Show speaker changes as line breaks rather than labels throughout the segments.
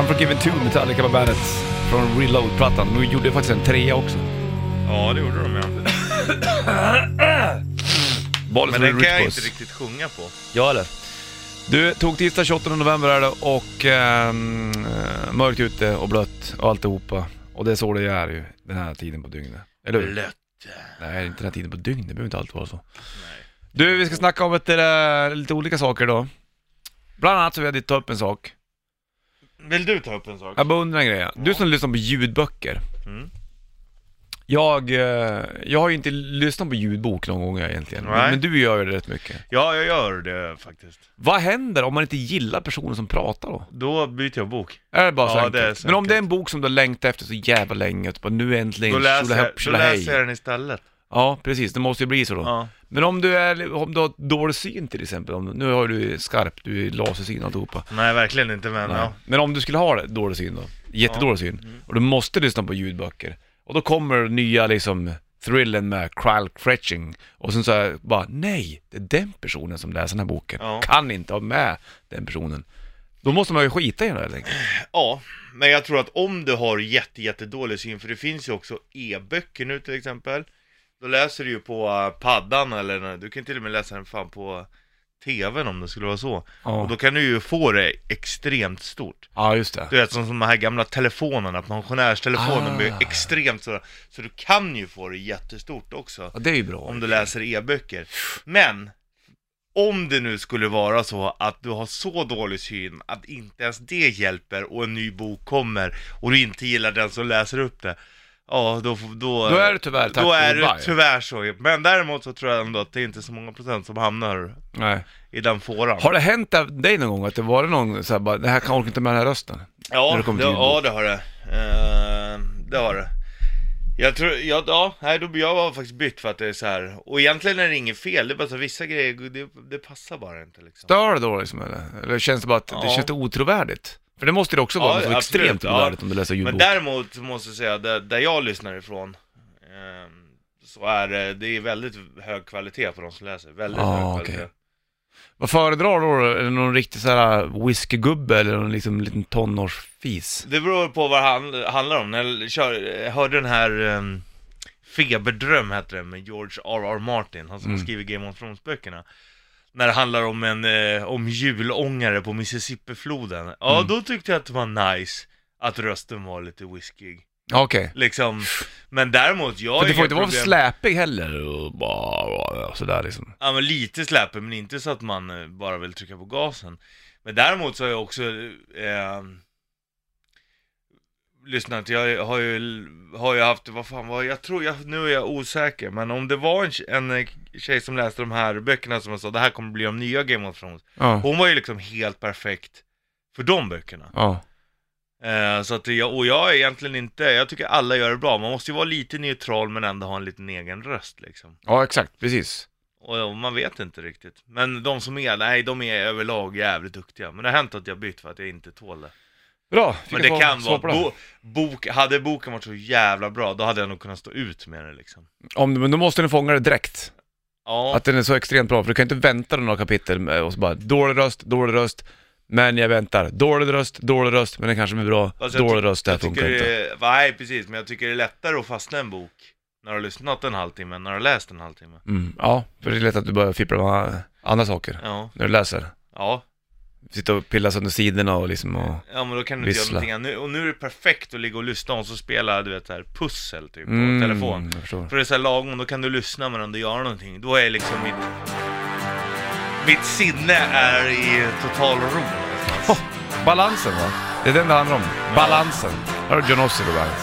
Unforgiven 2 Metallica på bandet från Reload-plattan. De gjorde faktiskt en trea också.
Ja, det gjorde de ja.
Boll
Men
från
den kan jag
Rutgers.
inte riktigt sjunga på.
Ja eller? Du, tog tisdag 28 november är det och ehm, eh, mörkt ute och blött och alltihopa. Och det är så det är ju den här tiden på dygnet. Eller hur?
Blött.
Nej, inte den här tiden på dygnet. Det behöver inte alltid vara så. Du, vi ska snacka om ett, eh, lite olika saker idag. Bland annat så vill jag ta upp en sak.
Vill du ta upp en sak?
Jag bara undrar en grej. Du som lyssnar på ljudböcker.
Mm.
Jag, eh, jag har ju inte lyssnat på ljudbok någon gång egentligen.
Nej.
Men du gör ju det rätt mycket.
Ja, jag gör det faktiskt.
Vad händer om man inte gillar personen som pratar då?
Då byter jag bok.
Är det bara så
Ja,
enkelt?
det är så
Men om
enkelt.
det är en bok som du har längtat efter så jävla länge, typ, nu äntligen,
Då läser, jag,
tjolahopp,
då
tjolahej.
läser jag den istället.
Ja, precis, det måste ju bli så då.
Ja.
Men om du, är, om du har dålig syn till exempel, om, nu har du skarp, du är lasersyn och alltihopa.
Nej, verkligen inte men
Nej.
ja.
Men om du skulle ha det, dålig syn då, jättedålig syn, och du måste lyssna på ljudböcker, och då kommer nya liksom thrillen med Kyle Cretching och sen så här, bara nej, det är den personen som läser den här boken,
Ja.
kan inte ha med den personen. Då måste man ju skita i den helt enkelt.
Ja, men jag tror att om du har jätte, jättedålig syn, för det finns ju också e-böcker nu till exempel. Då läser du ju på eh, paddan eller nå- du kan till och med läsa den fan på äh, tvn om det skulle vara så. Och
Ja.
då kan du ju få det extremt stort.
ja, just det.
Du vet som som de här gamla telefonerna, pensionärstelefonen
Ah.
blir extremt så. Så du kan ju få det jättestort också.
Ja, det är ju bra.
Om du läser e-böcker. Men! Om det nu skulle vara så att du har så dålig syn att inte ens det hjälper och en ny bok kommer och du inte gillar den som läser upp det. Ja, då, får- då,
Då är det tyvärr tack
då
och
är
goodbye.
det tyvärr så. Men däremot så tror jag ändå att det är inte så många procent som hamnar
Nej.
i den fåran.
Har det hänt av dig någon gång att det var någon såhär bara, det här kan jag orkar inte med den här rösten? när
Ja,
det kommer
det,
till
ja, det har det. Eh, det har det. Jag tror, ja, ja nej, då, jag har faktiskt bytt för att det är så här. Och egentligen är det inget fel, det är bara så vissa grejer, det, det passar bara inte liksom.
Stör det då liksom eller? Eller känns det bara att det
Ja.
känns otrovärdigt? För det måste det också vara,
Ja,
något som är
absolut,
extremt
ja.
trovärdigt om du läser ljudbok.
Men däremot så måste jag säga, där, där jag lyssnar ifrån, eh, så är det, det är väldigt hög kvalitet på de som läser. Väldigt
Ah,
hög
okej.
kvalitet.
Vad föredrar du då? Är det någon riktig såhär whiskygubbe eller någon liksom liten tonårsfis?
Det beror på vad det handl- handlar om. När jag kör, jag hörde den här ehm, Feberdröm heter den med George R.R. Martin, han som
Mm.
skriver Game of Thrones-böckerna. När det handlar om en, eh, om julångare på Mississippifloden. Ja,
Mm.
då tyckte jag att det var nice att rösten var lite whiskig.
Ja, Okej.
Liksom, men däremot, jag har
För du
inga
får inte vara för
problem-
släpig heller och bara sådär liksom.
Ja men lite släpper men inte så att man eh, bara vill trycka på gasen. Men däremot så har jag också eh, lyssnat, jag har ju, har ju haft, vad fan var jag tror, jag, nu är jag osäker, men om det var en, tje- en eh, tjej som läste de här böckerna som jag sa, det här kommer bli de nya Game of Thrones.
Ja.
Hon var ju liksom helt perfekt för de böckerna.
Ja.
Eh, så att jag, och jag är egentligen inte, jag tycker alla gör det bra, man måste ju vara lite neutral men ändå ha en liten egen röst liksom.
ja, exakt. Precis.
Och och man vet inte riktigt. Men de som är, nej de är överlag jävligt duktiga. Men det har hänt att jag bytt för att jag inte tål det.
Bra. Fick
Men
jag
det
svar-
kan
svar
vara,
på det.
bo, bok, hade boken varit så jävla bra, då hade jag nog kunnat stå ut med det liksom.
Om, men då måste den fånga det direkt.
Ja,
Att den är så extremt bra, för du kan inte vänta några kapitel med- och så bara dålig röst, dålig röst, men jag väntar. Dålig röst, dålig röst, men den kanske blir bra.
fast jag
dålig
ty-
röst, det här
jag tycker
funkar inte.
det är- Nej precis, men jag tycker det är lättare att fastna i en bok när du har lyssnat en halvtimme, än när du har läst en halvtimme.
Mm, ja, för det är lätt att du börjar fippla med andra saker
Ja,
när du läser.
ja.
Sitta och pilla sönder sidorna och liksom och...
Ja men då kan du inte
Vissla.
göra någonting annat. Nu- Och nu är det perfekt att ligga och lyssna och så spela, du vet så här pussel typ på
Mm,
telefon.
Jag förstår.
För det är såhär lagom, då kan du lyssna medan du gör någonting. Då är liksom mitt... Mitt sinne är i total ro.
Oh, balansen va? Det är den det handlar om. Balansen. Här har John Ossie på bandet.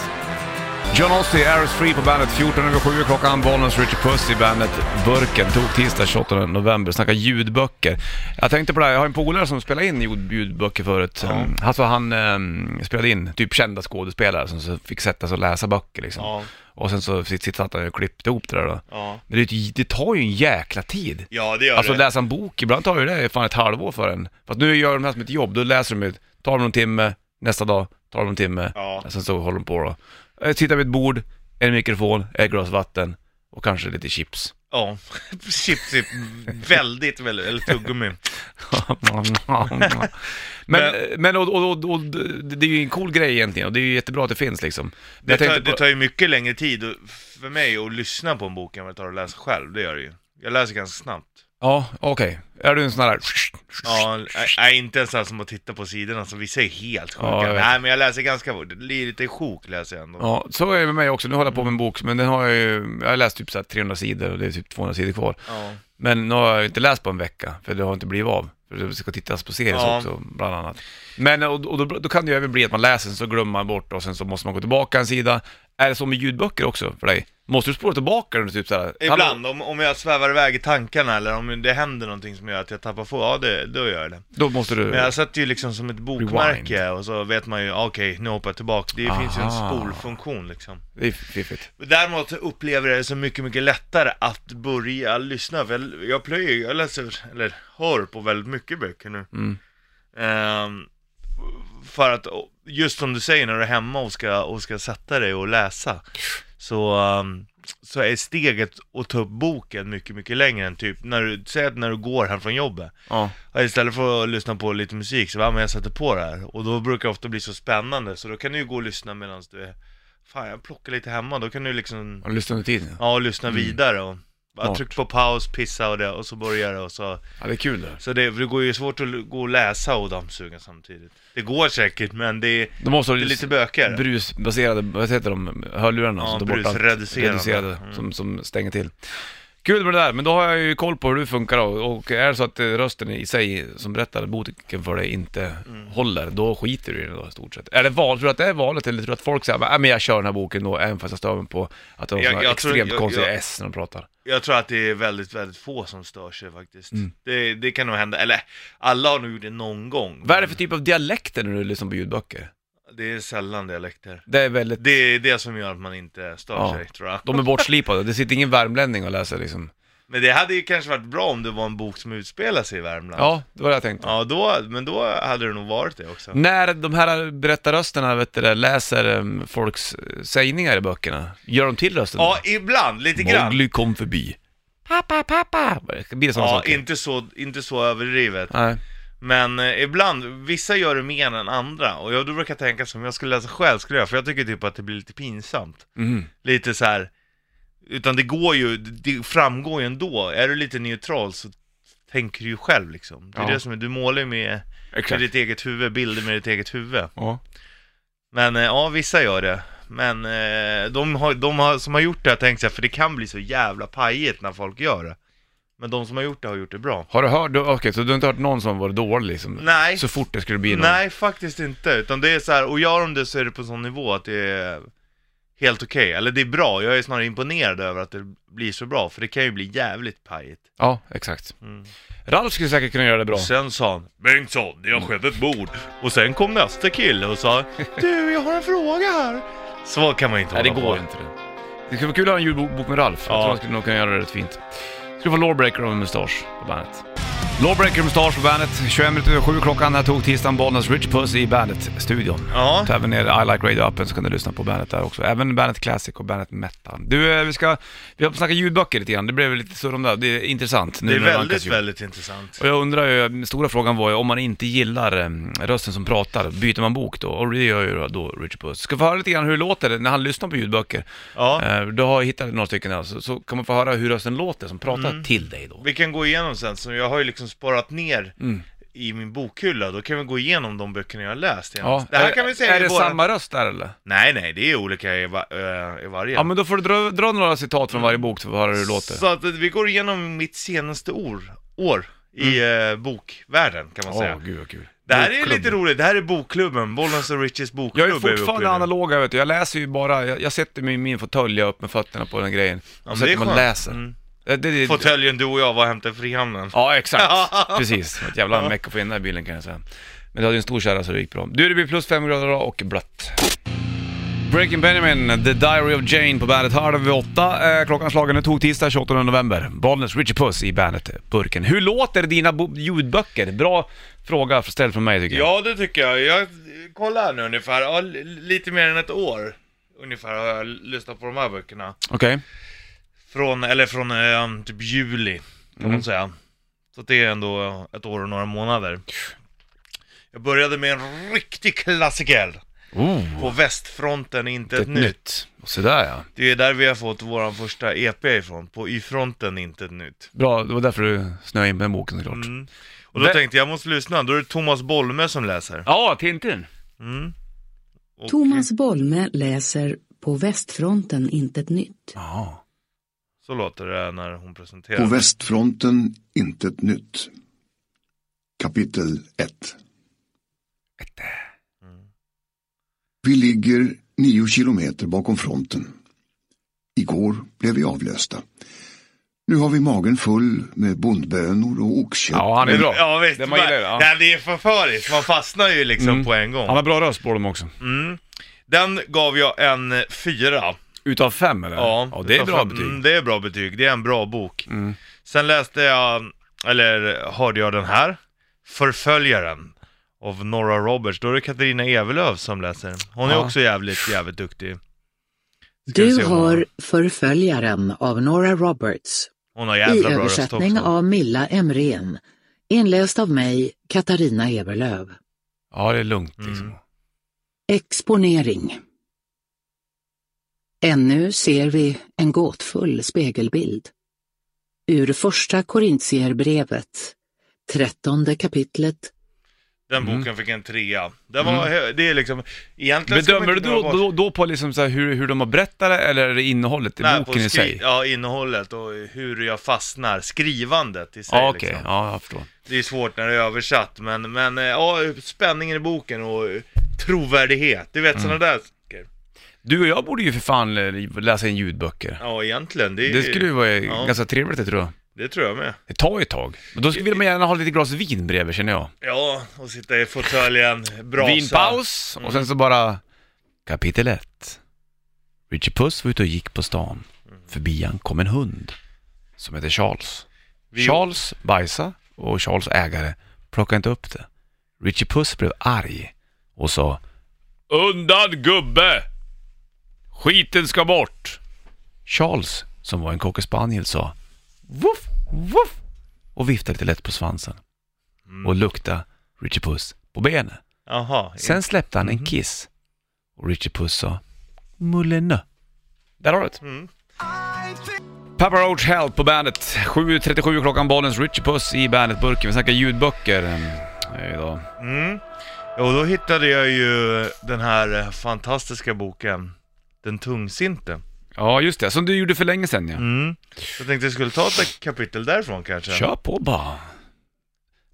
John Ossie, Aeros Free på bandet. 14 över 7 klockan, Bollnäs, Richard Puss i bandet Burken. Tog tisdag 28 november. Snacka ljudböcker. Jag tänkte på det här, jag har en polare som spelade in ljud- ljudböcker förut. Mm. Alltså han ehm, spelade in typ kända skådespelare som så fick sätta sig och läsa böcker liksom.
Ja,
Och sen så sitt- sitt satt han och klippte ihop det där då.
ja.
Men det, är ju- det tar ju en jäkla tid.
Ja, det gör
Alltså
det.
läsa en bok, ibland tar ju det fan ett halvår för en. Fast nu gör de här som ett jobb, då läser de ju, tar de någon timme, nästa dag tar de någon timme,
Ja.
sen så håller de på då. Eh, Sitta vid ett bord, en mikrofon, ett glas vatten och kanske lite chips.
Ja, chip, chip. väldigt, väldigt, eller tuggummi.
men men, och, och, och, och det är ju en cool grej egentligen och det är ju jättebra att det finns liksom. Men
Det
jag
tar,
tänkte
det
på-
tar ju mycket längre tid och- för mig att lyssna på en bok än vad det tar att läsa själv, det gör det ju. Jag läser ganska snabbt.
Ja, okej. Är du en sån här...
Ja, nej, nej, inte ens här som att titta på sidorna, så vissa är helt sjuka.
Ja, jag vet.
nej, men jag läser ganska fort. Lite sjok läser jag ändå.
Ja, så är det med mig också. Nu håller jag på med en bok, men den har jag ju... Jag har läst typ så här 300 sidor och det är typ 200 sidor kvar.
Ja.
Men nu har jag inte läst på en vecka, för det har inte blivit av. För det ska tittas på serier
Ja.
också, bland annat. Men och, och då, då kan det ju även bli att man läser, sen så glömmer man bort och sen så måste man gå tillbaka en sida. Är det så med ljudböcker också för dig? Måste du spola tillbaka den typ så här?
Ibland, om, om jag svävar iväg i tankarna eller om det händer någonting som gör att jag tappar få, ja det, då gör jag det.
Då måste du...
Men jag satt ju liksom som ett bokmärke och så vet man ju, ah, okej, nu hoppar jag tillbaka. Det finns ju en
Aha.
spolfunktion liksom.
Det är fiffigt.
Däremot upplever jag det som mycket, mycket lättare att börja lyssna. För jag, jag plöjer, ju- jag läser, eller hör på väldigt mycket böcker nu.
Mm.
Ehm, för att, och- just som du säger, när du är hemma och ska, och ska sätta dig och läsa, så, ehm, så är steget att ta upp boken mycket, mycket längre än typ, när du, säg att när du går här från jobbet,
Ja.
Ja, Istället för att lyssna på lite musik så bara, men jag sätter på det här Och då brukar det ofta bli så spännande så då kan du ju gå och lyssna medan du är Fan jag plockar lite hemma, då kan du liksom
Har du lyssnat under tiden?
Ja, och lyssna vidare och bara
Mm. Smart.
tryck på paus, pissa och det och så börjar det och så
Ja, det är kul det.
Så det, det går ju svårt att l- gå och läsa och dammsuga samtidigt Det går säkert men det är,
Då måste
det
du
är lite bökigare
brusbaserade, vad heter de, hörlurarna
Ja,
som tar bort allt.
brusreducerande.
Reducerade,
Mm.
som, som stänger till. Kul med det där, men då har jag ju koll på hur du funkar då. och är det så att eh, rösten i sig som berättar boken för dig inte
Mm.
håller, då skiter du i den då i stort sett. Är det val, tror du att det är vanligt eller tror du att folk säger äh, men jag kör den här boken då, även fast jag stör mig på att de har
Jag-
såna
jag tror-
extremt
jag-
konstiga
jag-
S när de pratar?
Jag tror att det är väldigt, väldigt få som stör sig faktiskt
Mm.
det, det kan nog hända, eller alla har nog gjort det någon gång
Vad är det för typ av dialekter när du lyssnar på ljudböcker?
Det är sällan dialekter
Det är väldigt,
Det är det som gör att man inte stör
Ja.
sig tror jag.
de är bortslipade, det sitter ingen värmlänning och läser liksom.
Men det hade ju kanske varit bra om det var en bok som utspelar sig i Värmland.
Ja, Mm. det var det jag tänkte.
Ja, då, men då hade det nog varit det också.
När de här berättarrösterna vet du, det, läser em, folks eh, sägningar i böckerna, gör de till rösten?
Ja, ibland, lite grann.
Mowgli kom förbi. Pappa, pappa! Blir det sådana
Ja,
saker?
inte så, inte så överdrivet.
Nej.
Men eh, ibland, vissa gör det mer än andra. Och jag då brukar tänka som, jag skulle läsa själv, skulle jag, för jag tycker typ att det blir lite pinsamt.
Mhm.
Lite så här. utan det går ju, det framgår ju ändå. Är du lite neutral så tänker du ju själv liksom. Det är
Ja.
det som är, du målar ju med, med
Exakt.
ditt eget huvud, bilder med ditt eget huvud.
Ja.
Men eh, ja, vissa gör det. Men eh, de, har, de har, som har gjort det har tänkt sig, för det kan bli så jävla pajigt när folk gör det. Men de som har gjort det har gjort det bra.
Har du hört, du- okej, så du har inte hört någon som var dålig liksom?
Nej,
Så fort det skulle bli någon?
nej faktiskt inte. Utan det är så här, och gör de det så är det på en sån nivå att det är helt okej. Eller det är bra, jag är snarare imponerad över att det blir så bra, för det kan ju bli jävligt pajigt.
Ja, exakt.
Mm.
Ralf skulle säkert kunna göra det bra.
Sen sa han Bengtsson, jag
Mm.
skedde ett bord. Och sen kom nästa kille och sa Du, jag har en fråga här. Så kan man ju inte
Nej, det
hålla
går
på.
inte det. Det skulle vara kul att ha en julbok med Ralf. Jag
Ja.
tror han skulle nog kunna göra det rätt fint. Skulle få Lawbreaker av en mustasch på bandet. Lawbreaker och mustasch på bandet. 21 minuter över sju klockan. Här tog tisdagen Bollnäs Rich Puss i bandet-studion.
Ja,
Ta även ner I Like Radio-appen så kan du lyssna på bandet där också. Även bandet Classic och bandet Metal. Du, eh, vi ska, vi har snackat ljudböcker lite grann. Det blev lite surr om det. här. Det är intressant. Nu
det är
när
väldigt,
rankas ju.
väldigt intressant.
Och jag undrar ju, den stora frågan var ju om man inte gillar eh, rösten som pratar, byter man bok då? Och det gör ju då, då Richard Puss. Ska få höra lite grann hur det låter när han lyssnar på ljudböcker.
Ja.
Eh, Du har hittat några stycken här, så, så kan man få höra hur rösten låter som pratar
Mm.
till dig då.
Vi kan gå igenom sen, så jag har ju liksom sparat ner
Mm.
i min bokhylla, då kan vi gå igenom de böckerna jag har läst igen.
Ja.
Det här
är,
kan vi säga
Är
i
det
våra...
samma röst där eller?
Nej, nej, det är olika i, va- eh, i varje.
Ja. men då får du dra, dra några citat från varje bok så får vi höra hur det låter.
Mm. Så att eh, vi går igenom mitt senaste år, år i eh, bokvärlden kan man
Mm. Åh,
säga.
gud vad kul.
Det här är
Bokklubb.
lite roligt, det här är bokklubben, Bollens och Richies
Jag
bokklubb.
är
vi uppe i
fortfarande
nu.
analog, jag vet du. Jag läser ju bara, jag, jag sätter mig i min fåtölj, jag upp med fötterna på den grejen.
Ja,
och
men
sätter
det är
mig och
skönt.
läser.
Mm.
Det, det, det,
Fåtöljen du och jag var och hämtade i Frihamnen.
Ja, exakt. Precis. Ett jävla meck att få in den här bilen kan jag säga. Men du hade ju en stor kärra så det gick bra. Du, det blir plus fem grader idag och blött. Breaking Benjamin, The Diary of Jane på bandet halv åtta. Eh, klockan slagen nu tog tisdag 28 november. Bollnäs Richie Puss i bandet-burken. Hur låter dina bo- ljudböcker? Bra fråga ställd från mig tycker jag.
Ja, det tycker jag. Jag kollar nu ungefär, ja, l- lite mer än ett år ungefär har jag lyssnat på de här böckerna.
Okej.
Från, eller från eh, typ juli, kan man säga. Så att det är ändå ett år och några månader. Jag började med en riktig klassiker.
Oh,
På västfronten, inte
ett
ett nytt.
nytt. Så där ja.
Det är där vi har fått vår första EP ifrån. På Y-fronten, inte ett nytt.
Bra, det var därför du snöade in på den boken såklart.
Mm. Och då
Vä-
tänkte jag, jag måste lyssna. Då är det Thomas Bolme som läser.
Ja, Tintin.
Mm. Och-
Thomas Bolme läser På västfronten intet nytt.
Ja.
Så låter det när hon presenterar.
På västfronten intet nytt. Kapitel 1 Vi ligger nio kilometer bakom fronten. Igår blev vi avlösta. Nu har vi magen full med bondbönor och oxkött.
ja, han är bra.
Ja visst,
Det
det,
man gillar, ja.
ja. det är förföriskt. Man fastnar ju liksom
Mm.
på en gång.
Han har bra röst på dem också.
Mm. Den gav jag en eh, fyra.
Utav fem eller?
Ja,
ja det är
tar
bra
fram-
betyg.
Mm, det är bra betyg, det är en bra bok.
Mm.
Sen läste jag, eller hörde jag den här, Förföljaren av Nora Roberts. Då är det Katarina Evelöv som läser den. Hon är
Ja.
också jävligt, jävligt duktig. Ska vi
Du
se om hon-
hör Förföljaren av Nora Roberts
Hon har
i
jävla bra röst
översättning
också.
av Milla Emrén. Inläst av mig, Katarina Eberlöv.
Ja, det är lugnt liksom.
Mm.
Exponering. Ännu ser vi en gåtfull spegelbild. Ur första Korintierbrevet, trettonde kapitlet,
Den boken
Mm.
fick en trea. Den var, hö- det är liksom, egentligen ska man
Bedömer du
inte behöva
då,
vara-
då, då på liksom så här hur, hur de har berättat det eller är det innehållet i
Nej, på
boken i
skri-
sig?
Ja, innehållet och hur jag fastnar, skrivandet i sig
Ja, Ah, okej.
liksom.
Ja, jag förstår.
Det är svårt när det är översatt, men, men eh, ja, spänningen i boken och eh, trovärdighet, du
Mm.
vet sådana där saker.
Du och jag borde ju för fan eh, läsa in ljudböcker.
Ja, egentligen, det, är-
Det skulle ju vara eh,
Ja.
ganska trevligt det tror jag.
det tror jag med.
Det tar ju ett tag. Men då skulle vill man gärna ha lite glas vin bredvid känner jag.
Ja, och sitta i fåtöljen, brasa.
Vinpaus och sen så bara kapitel 1. Richie Puss var ute och gick på stan. Förbi han kom en hund som heter Charles.
Vi-
Charles bajsa och Charles ägare plockade inte upp det. Richie Puss blev arg och sa Undan gubbe! Skiten ska bort! Charles, som var en cockerspaniel, sa Woof, woof! och viftade lite lätt på svansen. Och luktade Richie Puss på benet.
Jaha,
Sen släppte han
Mm.
en kiss. Och Richie Puss sa Mullenö. Där har du det.
Mm.
Papa Roach Hell på bandet. 7.37 klockan, Bollens Richie Puss i bandetburken. Vi snackar ljudböcker eh, idag.
mm. Och då hittade jag ju den här eh, fantastiska boken, Den tungsinte.
Ja, just det. Som du gjorde för länge sedan ja.
Mm. Jag tänkte jag skulle ta ett kapitel därifrån kanske.
Kör på bara.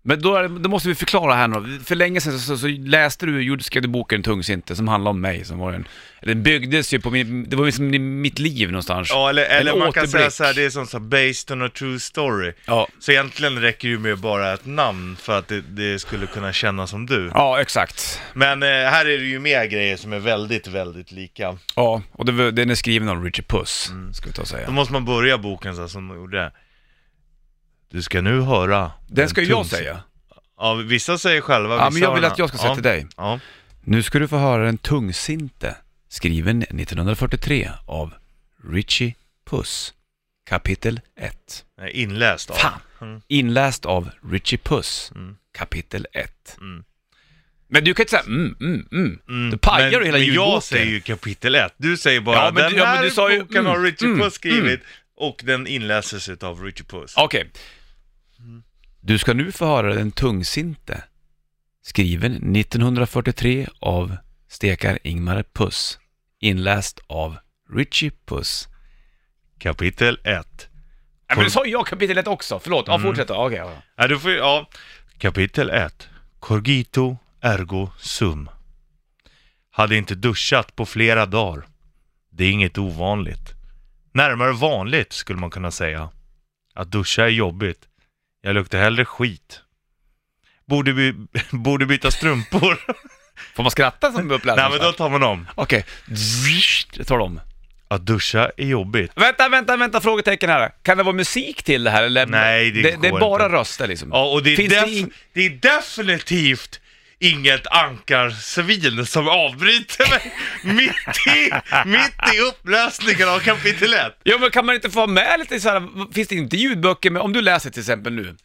Men då, är, det- då måste vi förklara här nu. För länge sedan så, så, så läste du, gjorde, skrev du boken Tungsinte som handlar om mig. Som var en, den byggdes ju på min, det var liksom mitt liv någonstans.
Ja, eller, eller
En
man kan säga
återblick.
så här, det är som så här, based on a true story.
Ja.
Så egentligen räcker det ju med bara ett namn för att det, det skulle kunna kännas som du.
Ja, exakt.
Men eh, här är det ju mer grejer som är väldigt, väldigt lika.
Ja, och det, var- den är skriven av Richard Puss,
Mm.
ska vi ta och säga.
Då måste man börja boken så här, som de gjorde. Du ska nu höra.
Den ska ju jag
tungs-
säga.
Ja, vissa säger
Ja,
själva, vissa
men jag
har
vill
den-
att jag ska säga
ja.
till dig.
Ja.
Nu ska du få höra den tungsinte, skriven 1943 av Richie Puss. Kapitel 1.
Nej, Inläst av.
Fan!
Mm.
Inläst av Richie Puss.
Mm.
Kapitel 1.
Mm.
Men du kan inte säga mm, mm, mm.
Mm,
Du pajar
men,
du hela
men
ljudboken.
jag säger ju kapitel ett. Du säger bara,
Ja, men
den
du- ja, men
här
du sa ju-
boken har
mm,
Richie
mm,
Puss skrivit och den inläses av Richie Puss.
Okej. Du ska nu få höra den tungsinte, skriven 1943 av stekar Ingmar Puss, inläst av Richie Puss.
Kapitel 1.
Ja, men du sa ju jag kapitel 1 också, förlåt. Ja, fortsätt då. Okej, ja.
Ja, du får ju, ja. Kapitel 1. Corgito ergo sum. Hade inte duschat på flera dagar. Det är inget ovanligt. Närmare vanligt skulle man kunna säga. Att duscha är jobbigt. Jag luktar hellre skit. Borde, by borde byta strumpor.
Får man skratta som uppläsare?
Nej men då tar man om.
Okej. Zzzzt, Jag tar dem.
Att duscha är jobbigt.
Vänta, vänta, vänta, frågetecken här. Kan det vara musik till det här eller?
Nej, det
det, det är
går
bara
inte.
röster liksom.
Ja och det är,
Finns det
def-
in-
det är definitivt inget ankarsvin som avbryter mig mitt i, mitt i upplösningen av kapitel 1.
Ja men kan man inte få ha med lite så här, finns det inte ljudböcker med, om du läser till exempel nu.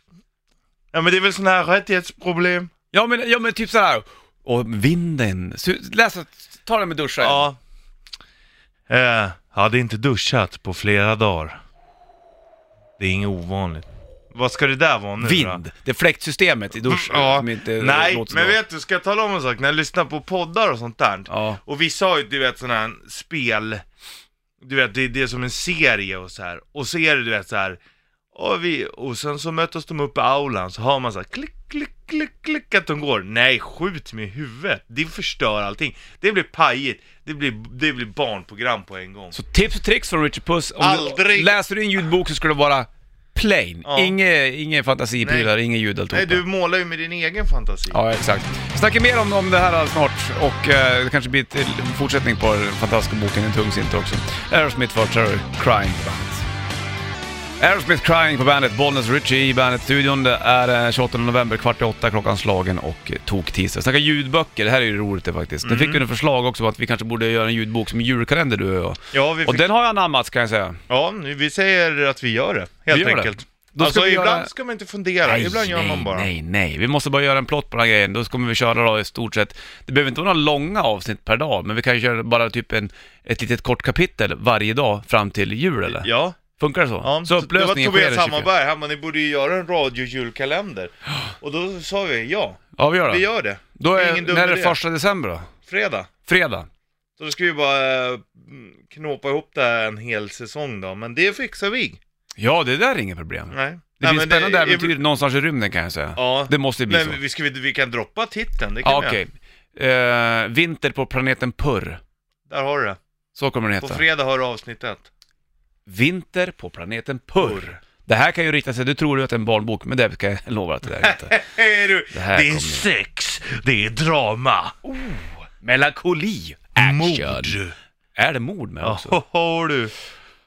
Ja men det är väl sådana här rättighetsproblem.
Ja men, ja, men typ så här. och vinden, Su- läs, ta den med duschen.
Ja. Eh, hade inte duschat på flera dagar. Det är inget ovanligt. Vad ska det där vara nu då?
Vind, det är fläktsystemet i duschen
Ja,
som inte
nej,
låter så
men
bra.
vet du, ska jag tala om en sak? När jag lyssnar på poddar och sånt där,
Ja.
och vissa har ju du vet sådana här spel, du vet det, det är som en serie och så här. och så är det du vet så här. Och, vi, och sen så möttes de upp i aulan, så har man så här klick, klick, klick, klick att de går. Nej, skjut med huvudet. Det förstör allting. Det blir pajigt. Det blir, det blir barnprogram på en gång.
Så tips och tricks från Richard Puss. Om Du,
Aldrig.
läser du en ljudbok så ska det vara plain.
Ja.
Inge, inga fantasiprylar, inga ljud
Nej,
alltihopa.
du målar ju med din egen fantasi.
Ja, exakt. Vi snackar mer om, om det här snart och eh, det kanske blir ett- en fortsättning på den fantastiska boken En tung sinter också. Aerosmith för Terror, Crying på bandet. Aerosmith Crying på bandet, Bollnäs Richie i bandet-studion. Det är eh, 28 november, kvart i åtta, klockan slagen och eh, tok-tisdag. Snacka ljudböcker, det här är ju roligt det faktiskt.
Mm.
Det fick vi en förslag också på att vi kanske borde göra en ljudbok som en julkalender du och jag.
Ja, vi
Och
fick,
den har jag anammat kan jag säga.
ja, nu- vi säger att vi gör det, helt
gör det.
enkelt.
Då
alltså
vi
ibland
göra-
ska man inte fundera, ibland gör
nej,
man bara.
Nej, nej, vi måste bara göra en plott på den här grejen. Då kommer vi köra då i stort sett, det behöver inte vara några långa avsnitt per dag, men vi kan ju köra bara typ en, ett litet kort kapitel varje dag fram till jul eller?
Ja,
Funkar det så?
ja.
så
det var
upplösningen sker
Tobias
den 24.
Hammarberg, han bara, ni borde ju göra en radiojulkalender. Och då sa vi ja,
Ja, vi gör det.
vi gör det.
Då
Det är
är,
ingen dum
när är det
idé.
första december då?
Fredag.
Fredag?
Så då ska vi bara eh, knåpa ihop det här en hel säsong då, men det fixar vi.
Ja, det där är inget problem.
Nej.
Det
Nej,
finns
men
spännande
är-
äventyr någonstans i rymden kan jag säga.
Ja,
Det måste ju bli
men
så.
vi, ska, vi, vi kan droppa titeln, det kan
Ja,
vi
okej.
göra.
Eh, vinter på planeten Purr.
Där har du det.
Så kommer den
På
heta.
fredag har du avsnitt ett.
Vinter på planeten Purr. Det här kan ju rikta sig, du tror ju att det är en barnbok, men det kan jag lova att det där är inte.
Hej du! Det,
här
är
kommer-
sex, det är drama,
Melankoli,
mord.
action. Är det mord med
Ja,
också?
ho, ho, du.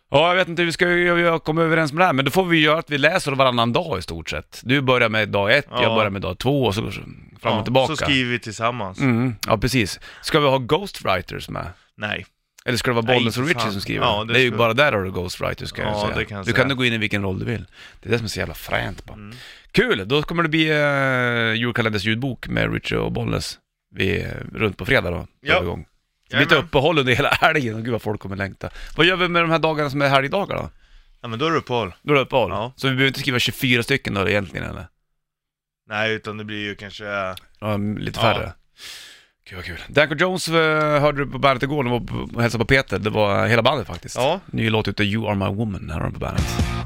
Ja, jag vet inte hur vi ska hur jag komma överens med det här, men då får vi göra att vi läser varannan dag i stort sett. Du börjar med dag ett, jag
Ja.
börjar med dag två och så går- fram
Ja,
och tillbaka.
Så skriver vi tillsammans.
mm, ja, precis. Ska vi ha ghostwriters med?
Nej.
Eller ska det vara
Nej,
Bollnäs och
inte
Richie
fan.
som skriver?
Ja,
det,
det
är ju
skulle-
bara där har du Ghostwriters kan jag
Ja,
säga.
det kan jag
du
säga.
kan nog gå in i vilken roll du vill. Det är det som är så jävla fränt bara.
Mm.
Kul! Då kommer det bli uh, julkalenders ljudbok med Richie och Bollnäs vid, eh, runt på fredag då.
Ja.
drar vi igång. Det blir ett
Jajamän.
uppehåll under hela helgen, och gud vad folk kommer längta. Vad gör vi med de här dagarna som är helgdagar då?
Ja men då är det uppehåll.
Då är det uppehåll.
Ja.
Så vi behöver inte skriva 24 stycken då egentligen eller?
Nej, utan det blir ju kanske... eh,
Ja, m- lite
Ja.
färre. Gud vad kul. Danko Jones eh, hörde du på bandet igår, de var på- och hälsade på Peter. Det var hela bandet faktiskt.
Ja.
Ny låt ute, You Are My Woman, här har de på bandet.